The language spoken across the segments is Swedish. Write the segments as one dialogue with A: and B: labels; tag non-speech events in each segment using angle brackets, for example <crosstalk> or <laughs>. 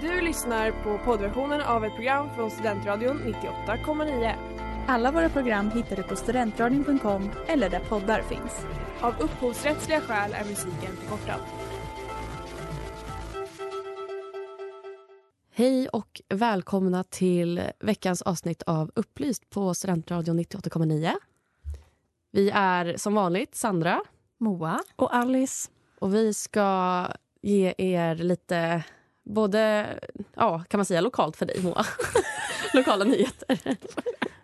A: Du lyssnar på poddversionen av ett program från Studentradion 98,9.
B: Alla våra program hittar du på studentradion.com eller där poddar finns.
A: Av upphovsrättsliga skäl är musiken förkortad.
C: Hej och välkomna till veckans avsnitt av Upplyst på Studentradion 98,9. Vi är som vanligt Sandra
D: Moa.
B: Och Alice.
C: och vi ska ge er lite både, ja kan man säga lokalt för dig
D: <laughs>
C: Moa? Lokala nyheter.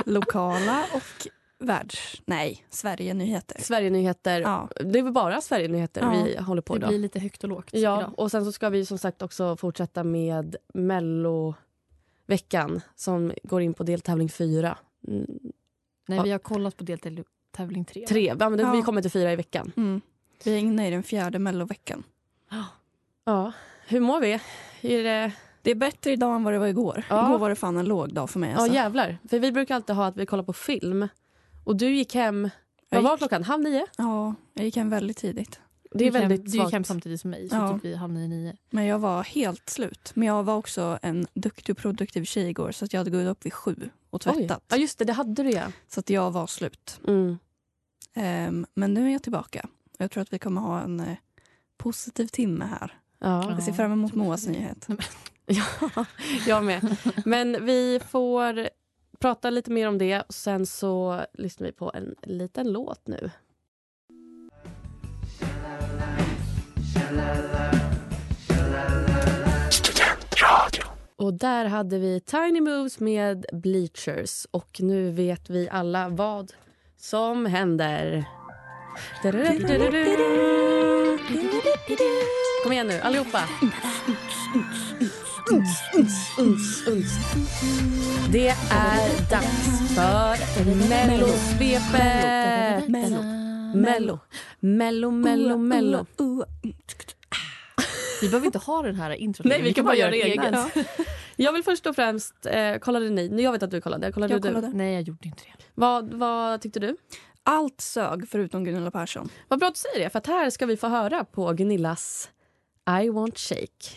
D: Lokala och världs... Nej, Sverige-nyheter.
C: Sverige-nyheter.
D: Ja.
C: Det är väl bara Sverige-nyheter
D: Ja,
C: vi håller på idag.
D: lite högt och lågt
C: Ja, och sen så ska vi som sagt också fortsätta med Melloveckan som går in på deltävling fyra. Mm,
E: Nej,
C: Ja.
E: vi har kollat på deltävling tre.
C: Tre, ja, men det,
D: Ja.
C: vi kommer till fyra i veckan.
D: Mm. Vi är inne i den fjärde melloveckan.
C: Ja, hur mår vi? Är det...
D: Det är bättre idag än vad det var igår.
C: Ja.
D: Igår var det fan en låg dag för mig. Alltså.
C: Ja, jävlar. För vi brukar alltid ha att vi kollar på film. Och du gick hem...
D: Jag
C: Vad var
D: gick-
C: klockan? Halv nio?
D: ja, jag gick hem väldigt tidigt.
C: Det är
E: Du gick hem-
C: väldigt
E: Du gick hem
C: svagt.
E: samtidigt som mig, så
D: Ja.
E: typ vi hamnade i nio.
D: Men jag var helt slut. Men jag var också en duktig och produktiv tjej igår så att jag hade gått upp vid sju och
C: Oj.
D: tvättat.
C: Ja, just det. Det hade du, ja.
D: Så att jag var slut.
C: Mm.
D: Ehm, men nu är jag tillbaka. Jag tror att vi kommer ha en eh, positiv timme här.
C: ja.
D: Jag ser fram emot Moas nyhet.
C: Ja, <laughs> jag med. Men vi får prata lite mer om det. Och sen så lyssnar vi på en liten låt nu. Och där hade vi Tiny Moves med Bleachers. Och nu vet vi alla vad som händer. Kom igen nu, allihopa. Uns, uns. Det är dags för Mellosvepet!
D: Mello.
E: Alltså,
C: Mello, mello, mello, mello.
D: Ua, ua.
E: Vi behöver inte ha den här introt.
C: Nej, vi kan bara göra
E: ett
C: eget.
E: eget.
C: Jag vill först och främst, eh, kollade ni? Nej, Jag vet att du kollade. Kollade
D: Jag
C: du?
D: kollade.
E: Nej, jag gjorde inte det.
C: Vad, vad tyckte du?
D: Allt sög förutom Gunilla Persson.
C: Vad bra att du säger det, för att här ska vi få höra på Gunillas I want shake.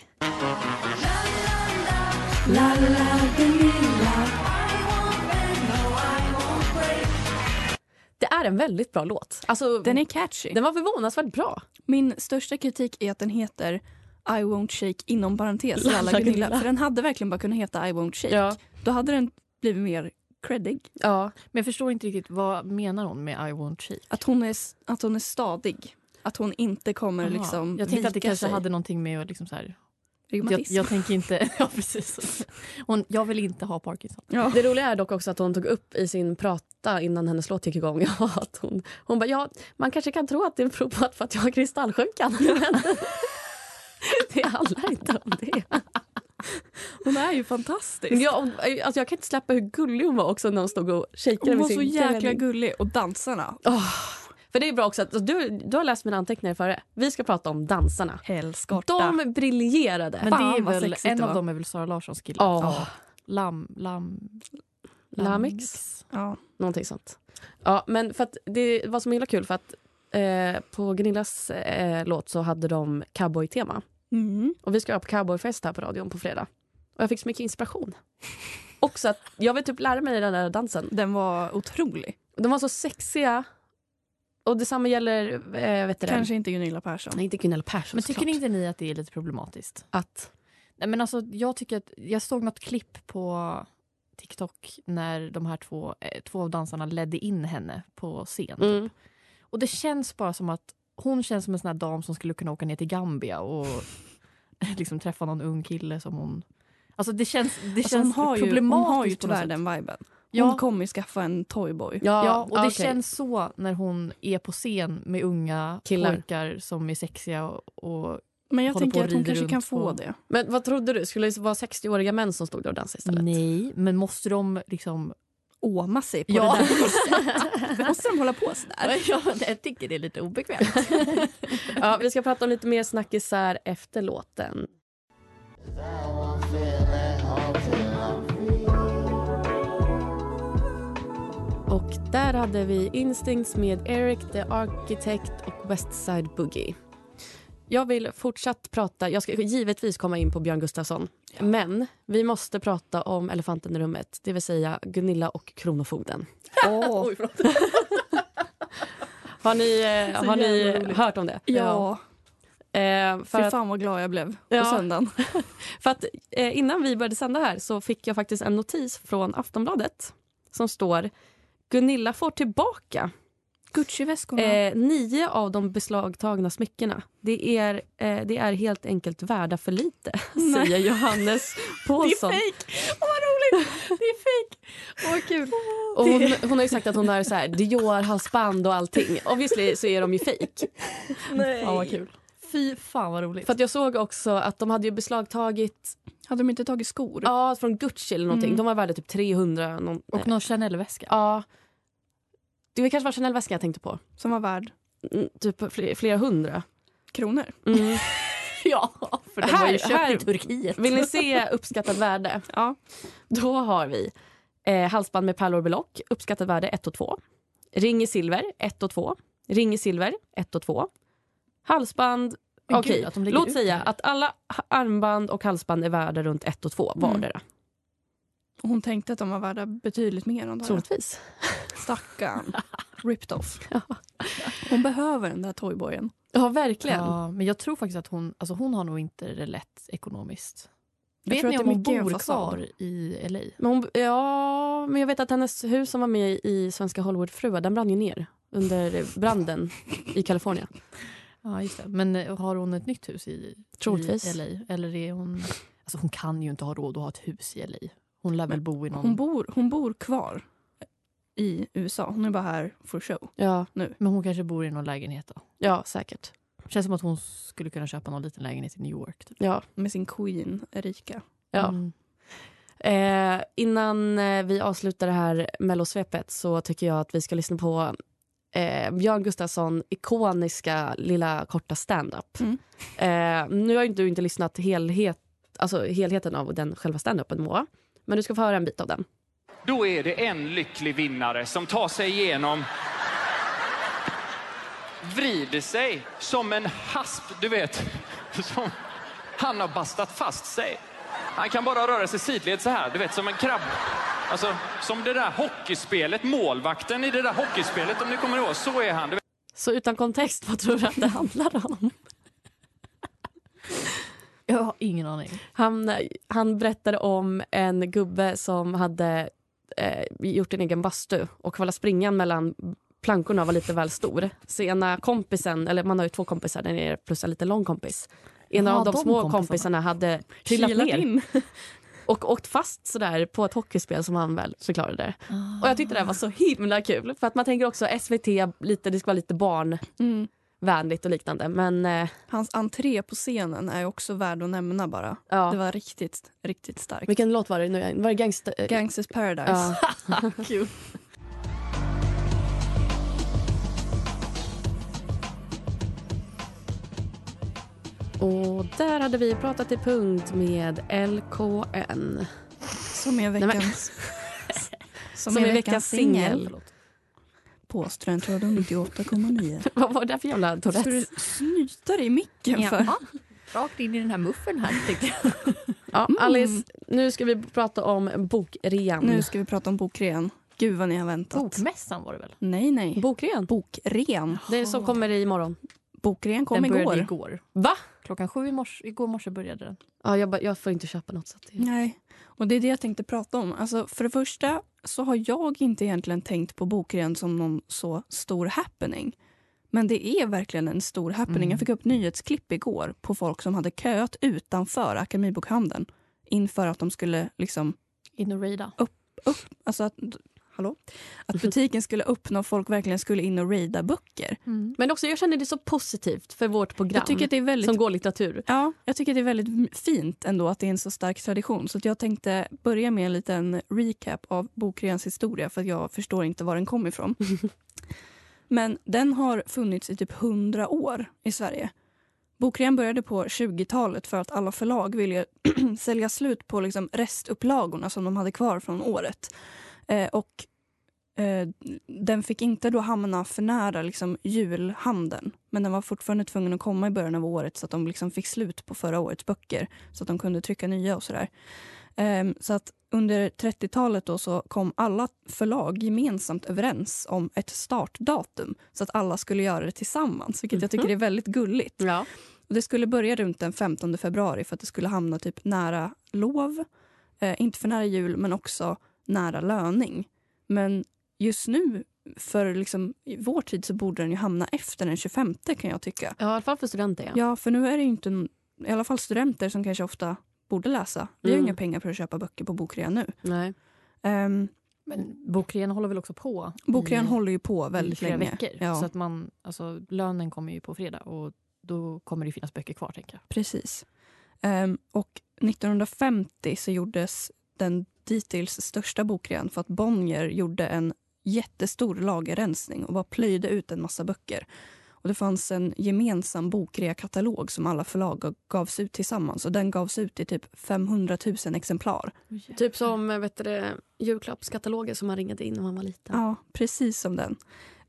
C: Det är en väldigt bra låt. Alltså,
D: Den är catchy.
C: den var förvånansvärt bra.
D: Min största kritik är att den heter I won't shake inom parentes
C: Lalla
E: <laughs>
D: Lalla Gunilla.
C: Gunilla.
D: För den hade verkligen bara kunnat heta I won't shake. Då hade den blivit mer creddig.
C: ja.
E: Men jag förstår inte riktigt, vad menar hon med I won't shake?
D: Att hon är, att hon är stadig. Att hon inte kommer
E: Jaha.
D: liksom
E: jag tänkte att det
D: vika
E: kanske
D: sig.
E: hade någonting med att liksom så här, jag,
D: Reumatism.
E: jag tänker inte, <laughs> ja precis. Hon, jag vill inte ha Parkinson.
D: Ja.
C: Det roliga är dock också att hon tog upp i sin prata innan hennes låt gick igång <laughs> att hon, hon bara ja, man kanske kan tro att det beror på att, för att jag har kristallsjukan. <laughs> Men det handlar inte om det.
D: Hon är ju fantastisk.
C: Ja, och, alltså, jag kan inte släppa hur gullig hon var också när hon stod och shakade
D: Hon
C: med
D: var
C: sin
D: så jäkla
C: klänning.
D: gullig. Och dansarna.
C: Åh, För det är bra också att alltså, du, du har läst mina anteckningar före. Vi ska prata om dansarna.
D: Helskotta.
C: De briljerade.
E: Men
D: Fan,
E: det är
D: vad
E: väl,
D: sexigt
E: en
D: det var.
E: av dem är väl Sara Larssons kille?
C: Ja.
E: Lam, lam,
C: Lamix?
D: Ja.
C: Någonting sånt. Ja, men för att det var så himla kul för att eh, på Gunillas eh, låt så hade de cowboy-tema.
D: Mm.
C: Och vi ska ha på cowboyfest här på radion på fredag. Och jag fick så mycket
E: <laughs>
C: inspiration. Också att jag vill typ lära mig den där dansen.
D: Den var otrolig.
C: De var så sexiga. Och detsamma gäller, eh, vet du det?
D: Kanske inte Gunilla Persson.
C: Nej, inte Gunilla Persson
E: Men tycker
C: såklart.
E: inte ni att det är lite problematiskt?
C: att...
E: Nej, men alltså, jag, tycker att, jag såg något klipp på TikTok när de här två, eh, två av dansarna ledde in henne på scen.
C: Mm.
E: Och det känns bara som att hon känns som en sån här dam som skulle kunna åka ner till Gambia och <laughs> liksom träffa någon ung kille som hon... Alltså det känns, det
D: Alltså, hon,
E: känns
D: har ju, hon
E: problematiskt
D: har ju
E: på något
D: tyvärr
E: sätt.
D: den viben. Hon
E: Ja,
D: kommer ju skaffa en toyboy.
C: Ja,
E: ja, och det
C: okej.
E: känns så när hon är på scen med unga
C: Killar.
E: pojkar som är sexiga och, och
D: Men jag
E: Håller på
D: tänker
E: och
D: att hon
E: rider
D: kanske kan
E: runt
D: få
E: på-
D: det.
C: Men vad trodde du? Skulle det vara 60-åriga män som stod där och dansade istället?
E: Nej, men måste de liksom...
D: Åma sig på
E: Ja.
D: det där viset. Måste de hålla på sådär?
E: <laughs> Ja, jag tycker det är lite obekvämt.
C: Ja, vi ska prata om lite mer snackisar efter låten. Och där hade vi Instincts med Eric the Architect och Westside Boogie. Jag vill fortsatt prata, jag ska givetvis komma in på Björn Gustafsson. Men vi måste prata om elefanten i rummet, det vill säga Gunilla och Kronofogden.
E: <laughs>
D: Åh,
C: Har ni, eh, har ni hört om det?
D: <laughs> ja,
C: Eh, för,
D: fy
C: att,
D: fan vad glad jag blev
C: Ja.
D: på söndagen.
C: för att eh, innan vi började sända här så fick jag faktiskt en notis från Aftonbladet som står Gunilla får tillbaka
D: Gucci-väskorna.
C: eh, nio av de beslagtagna smyckena. Det är, eh, det är helt enkelt värda för lite, <laughs> säger Johannes Paulsson.
E: Det är fejk! Åh, kul.
C: Och
E: <laughs>
C: hon, hon har ju sagt att hon har så här, Dior, halsband och allting. Obviously så är de ju fake.
D: Nej.
E: Fan, vad kul. Fy fan, vad roligt.
C: För att jag såg också att de hade ju beslagtagit
D: Hade de inte tagit skor?
C: ja, från Gucci eller någonting. De var värda typ 300. Någon,
E: Och någon Chanel-väska.
C: ja. Det var kanske var Chanel-väskan jag tänkte på.
D: Som var värd
C: Mm, typ flera, flera hundra.
D: kronor.
C: Mm.
E: <laughs> Ja, för
C: den var ju köpt ur
E: Turkiet.
C: Vill ni se uppskattat värde?
D: Ja.
C: Då har vi eh, halsband med pärlor och belock, uppskattat värde 1 och 2. Ring i silver 1 och 2. Ring i silver 1 och 2. Halsband...
E: Men
C: Okej,
E: gud, att de lägger
C: låt
E: ut
C: säga
E: det här.
C: att alla ha- armband och halsband är värda runt 1 och 2
E: Mm.
C: vardera.
D: Och hon tänkte att de var värda betydligt mer än det.
C: Troligtvis.
D: <laughs> Stackarn. Ripped off. Hon behöver den där toyboyen.
C: Ja, verkligen.
E: Ja, men jag tror faktiskt att hon, alltså hon har nog inte det lätt ekonomiskt.
D: Jag
E: Vet
D: tror
E: ni
D: att
E: om
D: det är
E: hon
D: mycket en
E: bor
D: fasad.
E: kvar i LA?
C: Men, hon, ja, men jag vet att hennes hus som var med i Svenska Hollywoodfruar, den brann ju ner under branden i Kalifornien.
E: Ja, just det. Men eh, har hon ett nytt hus i,
C: Troligtvis.
E: i LA? Eller är hon... Alltså hon kan ju inte ha råd att ha ett hus i LA. Hon lär väl bo i någon...
D: Hon bor, hon bor kvar i USA. Hon är bara här for show.
C: Ja,
E: men hon kanske bor i någon lägenhet då.
C: ja säkert.
E: Känns som att hon skulle kunna köpa någon liten lägenhet i New York. Typ.
C: Ja.
D: Med sin queen Erika.
C: Ja.
E: Mm.
C: Eh, innan eh, vi avslutar det här mellosvepet så tycker jag att vi ska lyssna på eh, Björn Gustafsson ikoniska lilla korta stand-up.
D: Mm.
C: Eh, nu har ju inte- du inte lyssnat helhet, alltså helheten av den själva stand-upen Moa, men du ska få höra en bit av den.
F: Då är det en lycklig vinnare som tar sig igenom vrider sig som en hasp, du vet. Som han har bastat fast sig. Han kan bara röra sig sidled så här, du vet, som en krabb. Alltså, som det där hockeyspelet, målvakten i det där hockeyspelet, om ni kommer ihåg. Så är han. Du vet.
C: Så utan kontext, <laughs> vad tror du att det handlar om?
E: Jag har ingen aning.
C: Han, han berättade om en gubbe som hade eh, gjort en egen bastu och kvala springan mellan plankorna var lite väl stor. Så ena kompisen, eller man har ju två kompisar där nere plus en lite lång kompis. Ena
E: Ja,
C: av de,
E: de
C: små
E: kompisarna.
C: kompisarna. hade trillat
D: Kilat
C: ner
D: in.
C: och åkt fast sådär på ett hockeyspel som han väl förklarade. Och jag tyckte det här var så himla kul för att man tänker också SVT, lite, det ska vara lite barnvänligt
D: Mm.
C: och liknande men eh,
D: Hans entré på scenen är ju också värd att nämna bara.
C: ja.
D: Det var riktigt, riktigt starkt.
C: Vilken låt var det nu? igen? Var det Gangsta... eh,
D: Gangsters Paradise.
C: Ja. <laughs> Och där hade vi pratat i punkt med LKN.
D: Som är
C: men- <laughs>
D: veckans...
C: Som, är veckans singel.
D: På Strandtråden
C: <laughs>
D: 98,9.
C: <laughs> Vad var det där för jävla
D: Ska du
C: Tourettes?
D: snyta dig i micken för?
E: Rakt in i den här muffen här. tänkte jag.
C: Ja, Alice, nu ska vi prata om bokrean.
D: Nu ska vi prata om bokrean. Gud vad ni har väntat.
E: <laughs>
C: Oh.
E: Bokmässan var det väl?
D: Nej, nej.
C: Bokrean?
D: Bokren.
C: Det är som kommer imorgon.
D: Bokren kom
E: den
D: igår.
E: började igår.
C: Va?
E: Klockan sju i morse, igår morse började den.
C: Ja, jag, bara- jag får inte köpa något. Så att det...
D: Nej, och det är det jag tänkte prata om. Alltså, för det första så har jag inte egentligen tänkt på bokrean som någon så stor happening. Men det är verkligen en stor happening. Jag fick upp nyhetsklipp igår på folk som hade köat utanför Akademibokhandeln inför att de skulle liksom
E: In och raida.
D: Alltså att, hallå? Att butiken skulle öppna och folk verkligen skulle in och raida böcker.
C: Men också, jag känner det så positivt för vårt program
D: Jag tycker att det är väldigt...
C: som går litteratur.
D: Ja, jag tycker att det är väldigt m- fint ändå att det är en så stark tradition. Så att jag tänkte börja med en liten recap av bokreans historia för att jag förstår inte var den kom ifrån. Men den har funnits i typ 100 år i Sverige. Bokrean började på 20-talet för att alla förlag ville <clears throat> sälja slut på liksom restupplagorna som de hade kvar från året. Eh, och eh, den fick inte då hamna för nära liksom, julhandeln men den var fortfarande tvungen att komma i början av året så att de liksom fick slut på förra årets böcker så att de kunde trycka nya och sådär. Ehm, så att under 30-talet då så kom alla förlag gemensamt överens om ett startdatum så att alla skulle göra det tillsammans, vilket jag tycker är väldigt gulligt.
C: Ja.
D: Och det skulle börja runt den 15 februari för att det skulle hamna typ nära lov. Eh, inte för nära jul, men också nära löning. Men just nu, för liksom, i vår tid, så borde den ju hamna efter den 25 kan jag tycka.
C: ja, i alla fall för studenter. Ja.
D: Ja, för nu är det ju inte, en- i alla fall studenter som kanske ofta borde läsa. Vi har
C: Mm.
D: inga pengar för att köpa böcker på bokrea nu.
C: Nej.
D: Um,
E: Men bokrean håller väl också på i-
D: bokrean
E: i
D: håller ju på väldigt
E: flera
D: länge.
E: veckor.
D: Ja,
E: Så att man, alltså, lönen kommer ju på fredag och då kommer det ju finnas böcker kvar tänker jag.
D: precis. Ehm, och 1950 så gjordes den dittills största bokrean för att Bonnier gjorde en jättestor lagerrensning och bara plöjde ut en massa böcker. Och Det fanns en gemensam bokrea-katalog som alla förlag gav- gavs ut tillsammans och den gavs ut i typ 500 000 exemplar.
C: Typ som eh, vet du, det, julklappskataloger som man ringade in när man var liten.
D: Ja, precis som den.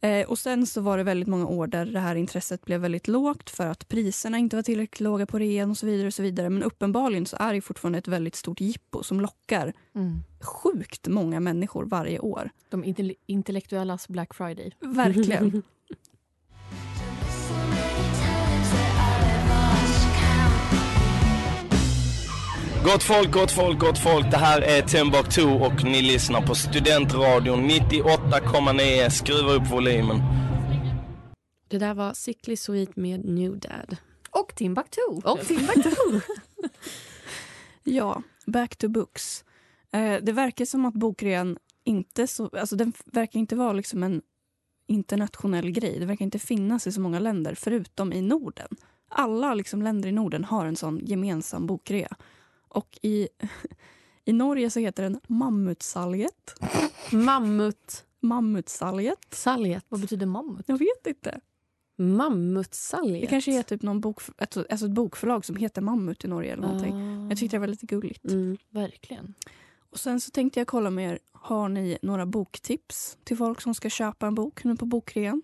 D: Eh, och sen så var det väldigt många år där det här intresset blev väldigt lågt för att priserna inte var tillräckligt låga på rean och så vidare. och så vidare. Men uppenbarligen så är det ju fortfarande ett väldigt stort jippo som lockar
E: Mm.
D: sjukt många människor varje år.
E: De intell- intellektuellas Black Friday.
D: Verkligen.
G: Gott folk, gott folk, gott folk. Det här är Timbuktu och ni lyssnar på Studentradion 98,9. Skruva upp volymen.
C: Det där var Sickly Sweet med New Dad.
E: Och Timbuktu!
C: Och Timbuktu!
D: ja, back to books. Eh, det verkar som att bokrean inte så, alltså den f- verkar inte vara liksom en internationell grej. Det verkar inte finnas i så många länder förutom i Norden. Alla liksom länder i Norden har en sån gemensam bokrea. Och i, <laughs> i Norge så heter den Mammutsalget.
C: Mammut.
D: Mammutsalget?
C: Salget.
E: Vad betyder mammut?
D: Jag vet inte.
C: Mammutsalget.
D: Det kanske är typ någon bok, alltså, alltså ett bokförlag som heter Mammut i Norge eller någonting.
C: Ah.
D: Jag tyckte det var lite gulligt.
C: Mm.
E: Verkligen.
D: Och sen så tänkte jag kolla med er, har ni några boktips till folk som ska köpa en bok nu på bokrean?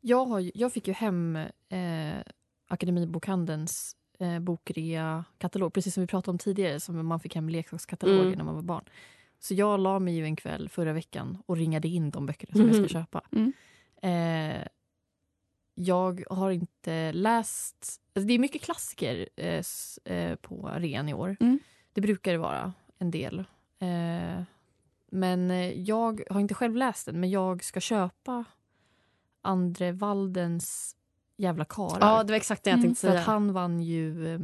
E: Jag, har, ju- jag fick ju hem eh, Akademibokhandelns eh, bokrea-katalog, precis som vi pratade om tidigare, som man fick hem leksakskataloger
C: Mm.
E: när man var barn. Så jag la mig ju en kväll förra veckan och ringade in de böckerna som jag
C: Mhm.
E: ska köpa.
D: Mm.
E: Eh, jag har inte läst... Alltså det är mycket klassiker eh, s- eh, på rean i år.
D: Mm.
E: Det brukar det vara en del. Eh, men eh, jag har inte själv läst den, men jag ska köpa Andre Waldens jävla karlar.
C: Ja, det var exakt det jag
D: Mm,
C: tänkte
E: för
C: säga.
E: att han vann ju eh,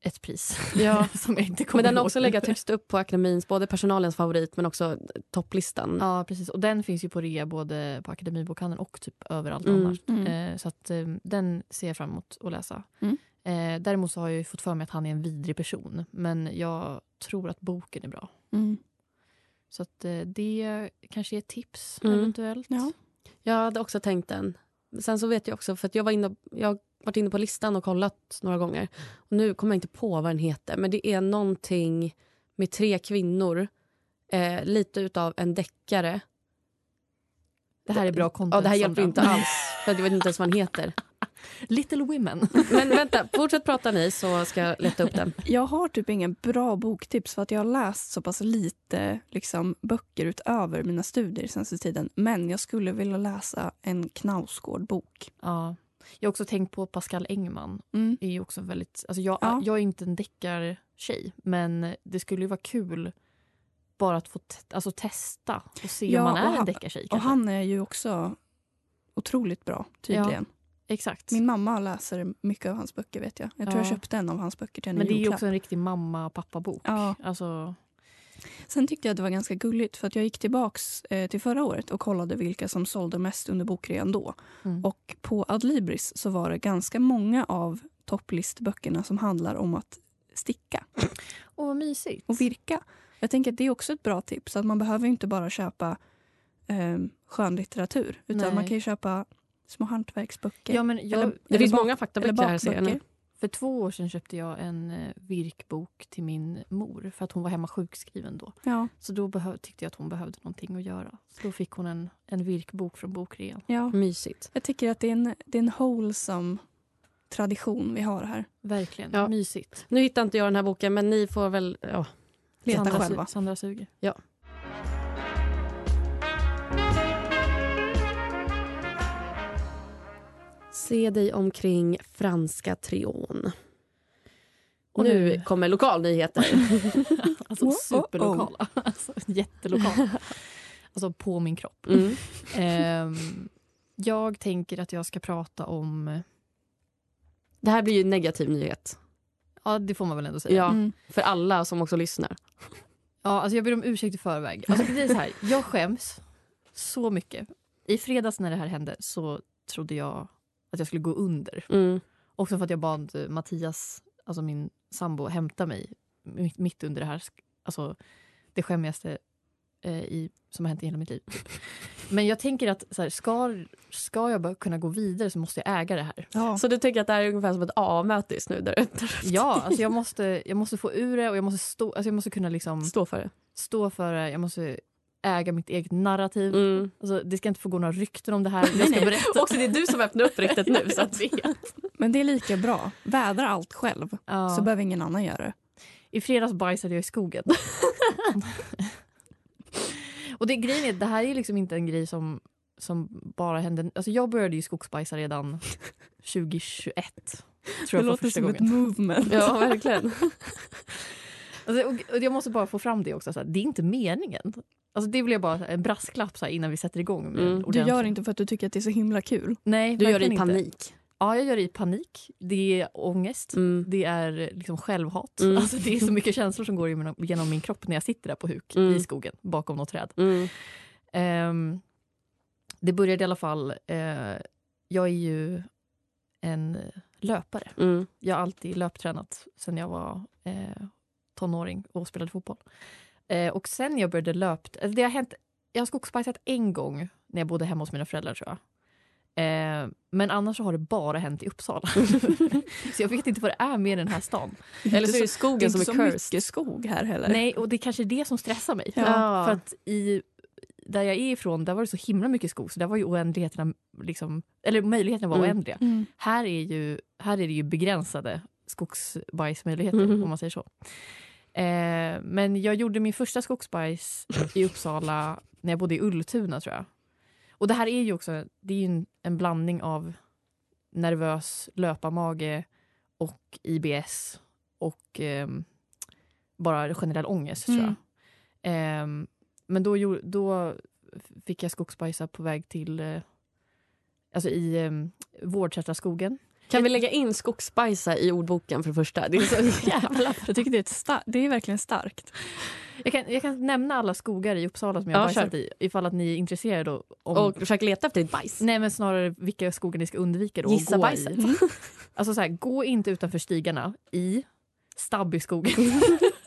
E: ett pris
C: Ja.
E: <laughs> som jag inte kommer
C: Men den har
E: ihåg
C: också
E: nu.
C: legat högst upp på akademins, både personalens favorit men också topplistan.
E: Ja, precis. Och den finns ju på rea både på Akademibokhandeln och typ överallt
C: Mm.
E: annars.
D: Mm.
E: Eh, så att, eh, den ser jag fram emot att läsa.
D: Mm.
E: Eh, däremot så har jag ju fått för mig att han är en vidrig person. Men jag tror att boken är bra.
D: Mm.
E: Så att, eh, det kanske är ett tips
C: Mm.
E: eventuellt.
D: Ja.
C: Jag hade också tänkt den. Sen så vet jag också, för att jag, var inne, jag har varit inne på listan och kollat några gånger. Och nu kommer jag inte på vad den heter, men det är någonting med tre kvinnor. Eh, lite utav en deckare.
E: Det här är bra content.
C: Ja, det här hjälper
E: Sandra.
C: inte alls, för att jag vet inte ens vad den heter.
E: <laughs>
D: <laughs>
E: Little Women.
C: Men vänta, fortsätt prata ni så ska jag leta upp den.
D: Jag har typ inga bra boktips för att jag har läst så pass lite liksom, böcker utöver mina studier senaste tiden. Men jag skulle vilja läsa en Knausgård-bok.
E: Ja. Jag har också tänkt på Pascal Engman.
D: Mm.
E: Är ju också väldigt, alltså jag,
D: Ja.
E: jag är inte en deckartjej, men det skulle ju vara kul bara att få te- alltså testa och se
D: Ja,
E: om man
D: och
E: är en
D: han-
E: deckartjej.
D: Och
E: kanske.
D: han är ju också otroligt bra, tydligen.
E: Exakt.
D: Min mamma läser mycket av hans böcker, vet jag. Jag tror
E: Ja.
D: jag köpte en av hans böcker till henne
E: men
D: i
E: det är ju
D: julklapp.
E: också en riktig mamma-pappa-bok.
D: Ja.
E: Alltså,
D: Sen tyckte jag att det var ganska gulligt för att jag gick tillbaks eh, till förra året och kollade vilka som sålde mest under bokrean då.
E: Mm.
D: Och på Adlibris så var det ganska många av topplistböckerna som handlar om att sticka
E: åh, vad mysigt.
D: och virka. Jag tänker att det är också ett bra tips att man behöver ju inte bara köpa eh, skönlitteratur utan
E: Nej.
D: man kan ju köpa små hantverksböcker.
E: ja, men jag,
D: Eller-
C: Det finns
D: bak-
C: många
D: eller
C: faktaböcker här ser jag nu.
D: bakböcker.
E: För två år sedan köpte jag en eh, virkbok till min mor för att hon var hemma sjukskriven då.
D: Ja,
E: Så då behö- tyckte jag att hon behövde någonting att göra. Så då fick hon en, en virkbok från bokrean.
D: ja.
C: Mm. Mysigt.
D: Jag tycker att det är en, det är en wholesome tradition vi har här.
E: Verkligen
C: Ja.
E: mysigt.
C: Nu hittar inte jag den här boken, men ni får väl... Ja.
D: Leta
E: Sandra,
D: själva.
E: Su- Sandra suger. <laughs>
C: Se dig omkring Franska Trion.
E: Och
C: nu,
E: nu-
C: kommer lokalnyheter.
E: Alltså
D: Oh, oh, oh.
E: superlokala. Alltså, jättelokala. Alltså på min kropp.
C: Mm.
E: Ehm, jag tänker att jag ska prata om...
C: Det här blir ju en negativ nyhet
E: Ja, det får man väl ändå säga.
C: ja,
D: Mm.
C: för alla som också lyssnar.
E: Ja, alltså jag ber om ursäkt i förväg. Alltså det är så här, jag skäms så mycket. I fredags när det här hände så trodde jag att jag skulle gå under.
C: Mm.
E: Också för att jag bad eh, Mattias, alltså min sambo, hämta mig mitt, mitt under det här. sk- Alltså det skämmigaste eh, i, som har hänt i hela mitt liv. Typ. Men jag tänker att så här, ska, ska jag bara kunna gå vidare så måste jag äga det här.
D: Ja.
C: Så du tänker att det här är ungefär som ett A-möte just nu? Där du
E: Ja, alltså jag måste, jag måste få ur det och jag måste, stå, alltså jag måste kunna liksom
C: står för det.
E: stå för det. Jag måste äga mitt eget narrativ.
C: Mm.
E: Alltså, det ska inte få gå några rykten om det här. Jag ska berätta.
C: Också det är du som öppnar upp riktigt nu. Så att,
D: Men det är lika bra. Vädra allt själv,
E: Ja.
D: så behöver ingen annan göra det.
E: I fredags bajsade jag i skogen. och det grejen är, att det här är liksom inte en grej som, som bara hände... Alltså jag började ju skogsbajsa redan 2021. Tror
D: Det
E: jag för
D: låter
E: första
D: som ett
E: gången.
D: movement.
C: <laughs> ja, verkligen.
E: Alltså, och, och jag måste bara få fram det också, så här, det är inte meningen. Alltså det vill jag bara, en brasklapp så här, innan vi sätter igång. Med
C: Mm.
E: en
C: Du
D: Du
E: ordentlig-
D: gör det inte för att du tycker att det är så himla kul.
E: Nej,
C: Du gör det
E: verkligen
C: i
E: inte.
C: panik.
E: Ja, jag gör det i panik. Det är ångest.
C: Mm.
E: Det är liksom självhat.
C: Mm.
E: Alltså, det är så mycket känslor som går genom- genom min kropp när jag sitter där på huk
C: Mm.
E: i skogen bakom något träd.
C: Mm.
E: Ehm, det började i alla fall... eh, jag är ju en löpare.
C: Mm.
E: Jag har alltid löptränat sen jag var eh, tonåring och spelade fotboll. Eh, och sen jag började löpt... Eller det har hänt, jag har skogsbajsat en gång när jag bodde hemma hos mina föräldrar, tror jag. Eh, men annars så har det bara hänt i Uppsala. <laughs> så jag vet inte vad det är med den här stan.
C: Eller så är det
D: Det är
C: skogen som
D: inte
C: är
D: så
C: cursed.
D: mycket skog här heller.
E: Nej, och det är kanske är det som stressar mig.
D: Ja.
E: För att i, där jag är ifrån, där var det så himla mycket skog, så där var ju oändligheterna, liksom, eller möjligheterna var
C: Mm.
E: oändliga.
D: Mm.
E: Här är, ju, här är det ju begränsade skogsbajsmöjligheter,
C: Mhm.
E: om man säger så. Eh, men jag gjorde min första skogsbajs i Uppsala när jag bodde i Ultuna, tror jag. Och det här är ju också det är ju en, en blandning av nervös löparmage och IBS och ehm, bara generell ångest, tror jag.
D: Mm.
E: Ehm, men då, gjorde- då fick jag skogsbajsa på väg till eh, alltså i um, Vårdsätraskogen.
C: Kan vi lägga in skogsbajsa i ordboken för det första? Det
D: <laughs>
C: är så jävla...
D: Jag tycker det är, ett sta- det är verkligen starkt.
E: Jag kan, jag kan nämna alla skogar i Uppsala som jag
C: Ja,
E: har bajsat i ifall att ni är intresserade. och- Om,
C: Och försök leta efter ditt bajs.
E: Nej, men snarare vilka skogar ni ska undvika då
C: Gissa
E: och gå
C: bajset.
E: i. <laughs> Alltså så här, gå inte utanför stigarna i Stabbyskogen.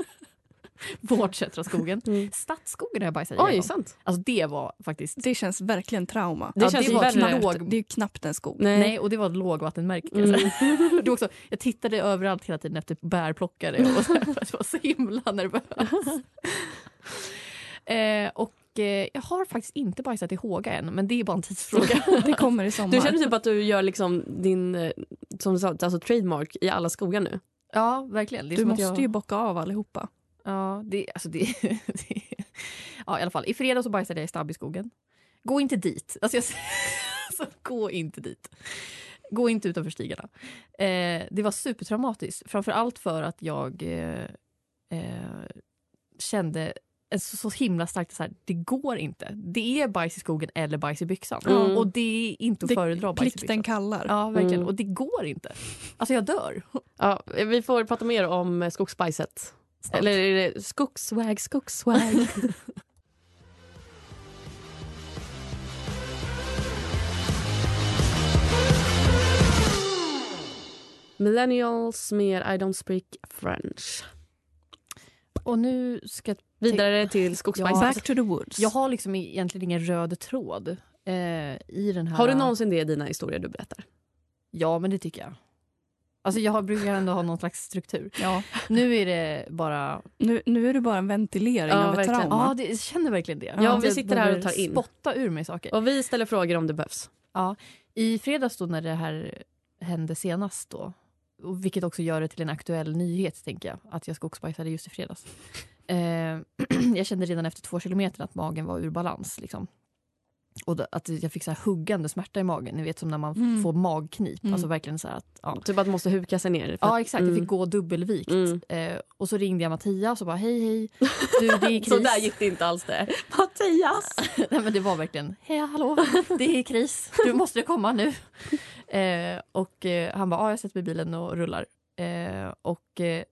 C: <laughs>
E: Vårdsätraskogen.
C: Mm.
E: Stadsskogen har jag bajsat i. en
C: Oj,
E: gång.
C: sant.
E: Alltså det var faktiskt...
D: Det känns verkligen trauma.
C: Det känns
E: det
C: ju
E: var
C: värre.
E: knappt-
D: Det är ju knappt en skog.
C: Nej.
E: Nej, och det var ett lågvattenmärke. kan jag
C: Mm.
E: säga. <laughs> Det var också, jag tittade överallt hela tiden efter bärplockare och så här, för att jag var så himla
C: <laughs>
E: nervös. Eh, och eh, jag har faktiskt inte bajsat i Håga än, men det är bara
C: <laughs>
E: en tidsfråga.
D: <laughs> Det kommer i sommar.
C: Du känner typ att du gör liksom din eh, som du sa, alltså trademark i alla skogar nu.
E: Ja, verkligen. Det är
D: du
E: som att
D: måste
E: jag,
D: ju bocka av allihopa.
E: Ja, det, alltså det, <laughs> det... Ja, i alla fall. I fredags så bajsade jag i Stabbyskogen. Gå inte dit. Alltså, jag, <laughs> alltså, gå inte dit. Gå inte utanför stigarna. Eh, det var supertraumatiskt. Framför allt för att jag eh, eh, kände en så, så himla starkt så här, det går inte. Det är bajs i skogen eller bajs i byxan.
C: Mm.
E: Och det är inte att
D: Det-
E: föredra bajs i
D: Plikten
E: byxan.
D: kallar.
E: Ja, verkligen.
C: Mm.
E: Och det går inte. Alltså jag dör.
C: Ja, vi får prata mer om eh, skogsbajset. Eller är det skogswag, skogswag? <laughs> Millennials med I don't speak French.
E: Och nu ska
C: Vidare till skogsbajset.
D: Back to the woods.
E: Jag har liksom egentligen ingen röd tråd eh, i den här...
C: Har du någonsin det i dina historier du berättar?
E: Ja, men det tycker jag. Alltså jag brukar ändå ha någon slags struktur.
D: Ja.
E: Nu är det bara...
D: Nu, nu är det bara en ventilering
C: Ja,
D: av ett
C: verkligen.
D: trauma.
E: Ja, det, jag känner verkligen det.
C: Ja,
E: Att
C: vi
E: jag
C: sitter här och
E: behöver
C: tar in.
E: spotta ur mig saker.
C: Och vi ställer frågor om det behövs.
E: I fredags då när det här hände senast då, och vilket också gör det till en aktuell nyhet tänker jag, att jag skogsbajsade just i fredags. Eh, <clears throat> jag kände redan efter två kilometer att magen var ur balans. Liksom. Och då, att jag fick så här huggande smärta i magen, ni vet som när man
D: Mm.
E: får magknip.
D: Mm.
E: Alltså verkligen så här att, ja.
C: Typ att man måste huka sig ner. för att-
E: Ja exakt, jag
C: Mm.
E: fick gå dubbelvikt.
C: Mm.
E: Eh, och så ringde jag Mattias och bara hej hej, du det är
C: <laughs>
E: kris.
C: Så där gick det inte alls det. Mattias!
E: Nej, men det var verkligen, hej hallå, det är kris, du måste komma nu. Eh, och eh, han bara, ja jag sätter mig i bilen och rullar. Eh, och eh,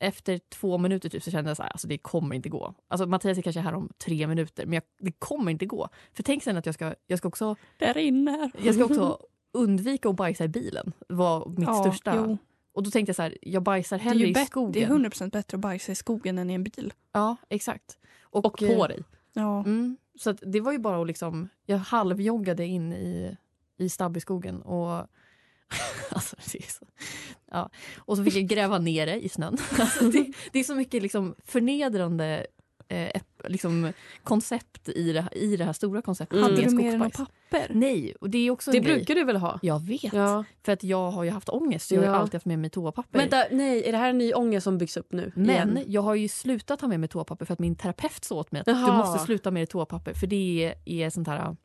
E: efter två minuter typ så kände jag så här, alltså det kommer inte gå. Alltså Mattias är kanske här om tre minuter, men jag, det kommer inte gå. För tänk sen att jag ska, jag ska också,
D: Det rinner.
E: jag ska också undvika att bajsa i bilen. var mitt
D: Ja,
E: största.
D: jo.
E: Och då tänkte jag så här, jag bajsar
D: Det är,
E: hellre
D: ju
E: i
D: bättre,
E: skogen. Mm.
D: det är 100% bättre att bajsa i skogen än i en bil.
E: Ja, exakt.
C: Och
E: eh,
C: på dig.
D: Ja.
E: Mm, så att det var ju bara att liksom, jag halvjoggade in i, i Stabbyskogen och <laughs> alltså det är så, ja. Och så fick jag gräva ner det i snön. <laughs> Alltså det, det är så mycket liksom förnedrande eh, ep- liksom koncept i det, i det här stora konceptet.
C: Mm.
E: med
D: Hade du med dig något
E: skogsbajs.
D: papper?
E: Nej, och det är också
C: Det
E: en grej.
C: brukar du väl ha?
E: Jag vet,
C: Ja.
E: för att jag har ju haft ångest. Jag har ju
C: Ja.
E: alltid haft med mig toapapper.
C: Vänta, nej, är det här en ny ångest som byggs upp nu?
E: Men
C: igen?
E: jag har ju slutat ha med mig toapapper för att min terapeut sa åt mig att du
C: Jaha.
E: måste sluta med dig toapapper för det är sånt här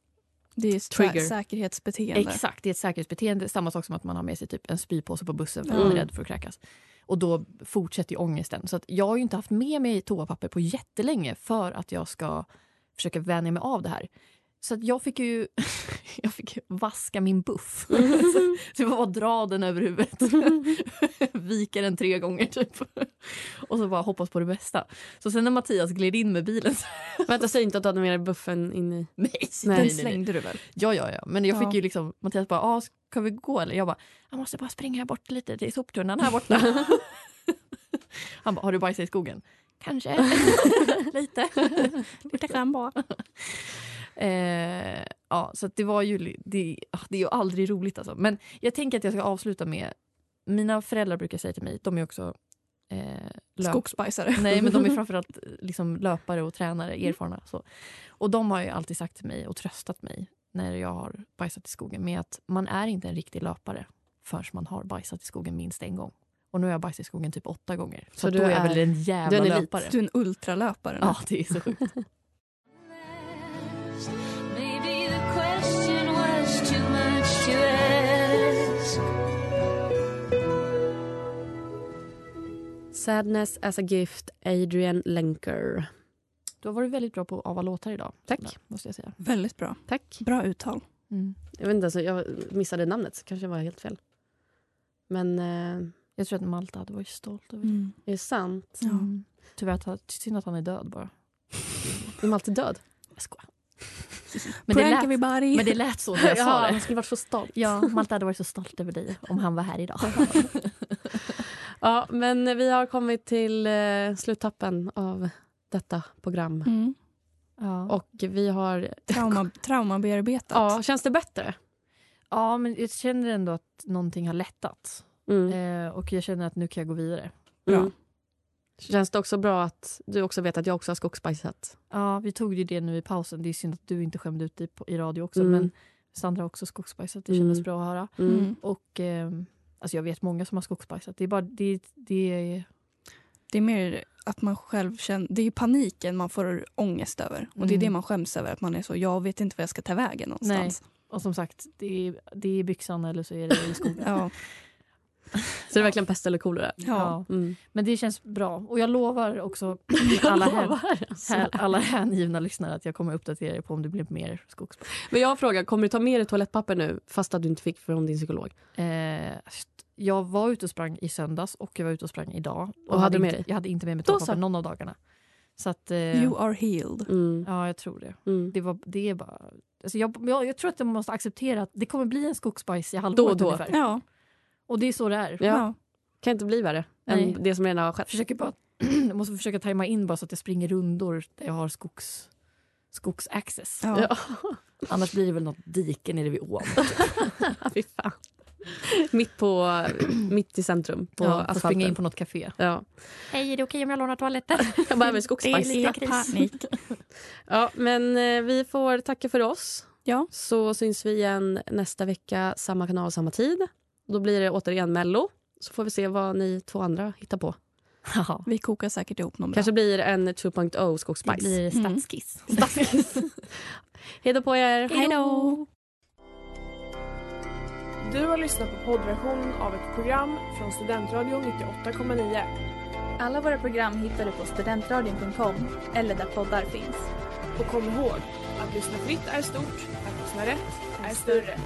D: Det är sä
C: Trigger.
D: säkerhetsbeteende.
E: Exakt, det är ett säkerhetsbeteende. Samma sak som att man har med sig typ en spypåse på bussen för att man
C: Mm.
E: är rädd för att kräkas. Och då fortsätter ju ångesten. Så att jag har ju inte haft med mig toapapper på jättelänge för att jag ska försöka vänja mig av det här. Så att jag fick ju <laughs> jag fick ju vaska min buff. <laughs> så, så jag bara dra den över huvudet. <laughs> Vika den tre gånger typ. Och så bara hoppas på det bästa. Så sen när Mattias gled in med bilen så, <laughs>
C: Vänta, säg inte att du hade med dig buffen in i...
E: nej,
C: Nej,
E: nej,
D: Den
E: nej, nej.
D: slängde du väl?
E: Ja, ja, ja. Men jag
D: Ja.
E: fick ju liksom, Mattias bara, ah, ska vi gå eller? Jag bara, jag måste bara springa här bort lite till soptunnan här borta. Han bara, har du bajsat i skogen? Kanske. lite.
D: Lite grann bara.
E: <laughs> Eh, ja, så att det var ju, li- det, ah, det är ju aldrig roligt alltså. Men jag tänker att jag ska avsluta med, mina föräldrar brukar säga till mig, de är också eh, löp-
D: Skogsbajsare.
E: Nej, men de är framförallt eh, liksom löpare och tränare, erfarna. Så. Och de har ju alltid sagt till mig och tröstat mig när jag har bajsat i skogen med att man är inte en riktig löpare förrän man har bajsat i skogen minst en gång. Och nu har jag bajsat i skogen typ åtta gånger. Så,
C: Så
E: då
C: du
E: är jag
C: är-
E: väl en
C: du
E: jävla
C: är en elit.
E: löpare.
D: Du är en ultralöpare. nu.
E: Ja, det är så sjukt.
H: Maybe the question was too much to ask.
C: Sadness as a gift, Adrian Lenker.
E: Du har varit väldigt bra på att ava låtar idag.
C: Tack.
E: Sanna, Måste jag säga.
D: Väldigt bra.
C: Tack.
D: Bra uttal.
E: Mm.
C: Jag vet inte, alltså, jag missade namnet, så kanske det var helt fel. Men eh,
E: Jag tror att Malta hade varit stolt över det.
D: Mm.
C: är det sant?
D: Ja.
E: Mm. Tyvärr, att han- synd att han är död bara.
C: De är alltid död.
E: Jag skojar.
D: Men
E: Men det,
D: Prank
E: lät,
D: everybody.
E: men det lät så när jag
C: <laughs>
E: sa det.
C: han skulle varit så stolt.
E: Ja, Malte hade varit så stolt över dig om han var här idag.
C: Ja, men vi har kommit till eh, sluttappen av detta program.
D: <laughs> Mm.
E: Ja.
C: Och vi har...
D: Trauma, traumabearbetat.
C: Ja, känns det bättre?
E: ja, men jag känner ändå att någonting har lättat.
C: Mm.
E: Eh, och jag känner att nu kan jag gå vidare.
D: bra.
C: Mm. Känns det också bra att du också vet att jag också har skogsbajsat?
E: Ja, vi tog ju det nu i pausen. Det är synd att du inte skämde ut dig på, i radio också.
C: Mm.
E: Men Sandra har också skogsbajsat. Det
C: Mm.
E: kändes bra att höra.
C: Mm.
D: Mm.
E: Och ehm, alltså jag vet många som har skogsbajsat. Det är bara det, det är,
D: Det är mer att man själv känner, det är paniken man får ångest över. Och det är
E: Mm.
D: det man skäms över, att man är så, jag vet inte var jag ska ta vägen någonstans.
E: och som sagt, det är, det är i byxan eller så är det
C: <laughs>
E: i skogen.
D: Ja.
C: Så det är verkligen pest eller kolera?
E: Ja.
C: Mm.
E: Men det känns bra. Och jag
C: <laughs>
E: lovar också alla, alltså. hän, här, alla hängivna lyssnare att jag kommer uppdatera er på om det blir mer skogsbajs.
C: Men jag frågar, kommer du ta med dig toalettpapper nu fast att du inte fick från din psykolog?
E: Eh, st- jag var ute och sprang i söndags och jag var ute och sprang idag.
C: Och hade med
E: inte,
C: dig?
E: Jag hade inte med mig
C: Då
E: toapapper
C: så.
E: någon av dagarna. Så att, eh,
D: You are healed.
C: Mm.
E: ja, jag tror det.
C: Mm.
E: Det, var, det är bara... Alltså jag, jag, jag tror att jag måste acceptera att det kommer bli en skogsbajs i
C: Då
E: halvåret
C: och då.
E: ungefär.
D: Ja.
E: Och det är så det är.
C: Ja. kan inte bli värre
E: Nej.
C: än det som redan har
E: <laughs>
C: skett.
E: Jag försöker bara, <clears throat> jag måste försöka tajma in bara så att jag springer rundor där jag har skogs, skogsaccess.
D: Ja.
E: Annars blir det väl något dike nere vid ån.
C: Fy fan. mitt, på, mitt i centrum på
E: Ja, får springa in
C: asfalten.
E: på något café.
C: Ja,
I: Hej, är det okej om jag lånar toaletten?
C: <laughs> jag behöver skogsbajs.
I: lite kris.
C: <laughs> Ja, men eh, vi får tacka för oss.
D: Ja.
C: Så syns vi igen nästa vecka, samma kanal, samma tid. Då blir det återigen Mello. Så får vi se vad ni två andra hittar på.
E: Jaha.
D: Vi kokar säkert ihop någon
C: Kanske
D: bra.
C: blir en 2.0
I: Det
C: skogsbajs. <laughs>
I: blir stadskiss.
C: Hej då på er!
I: Hej då!
A: Du har lyssnat på poddversionen av ett program från Studentradion 98,9.
B: Alla våra program hittar du på studentradion.com eller där poddar finns.
A: Och kom ihåg, att lyssna fritt är stort, att lyssna rätt är större.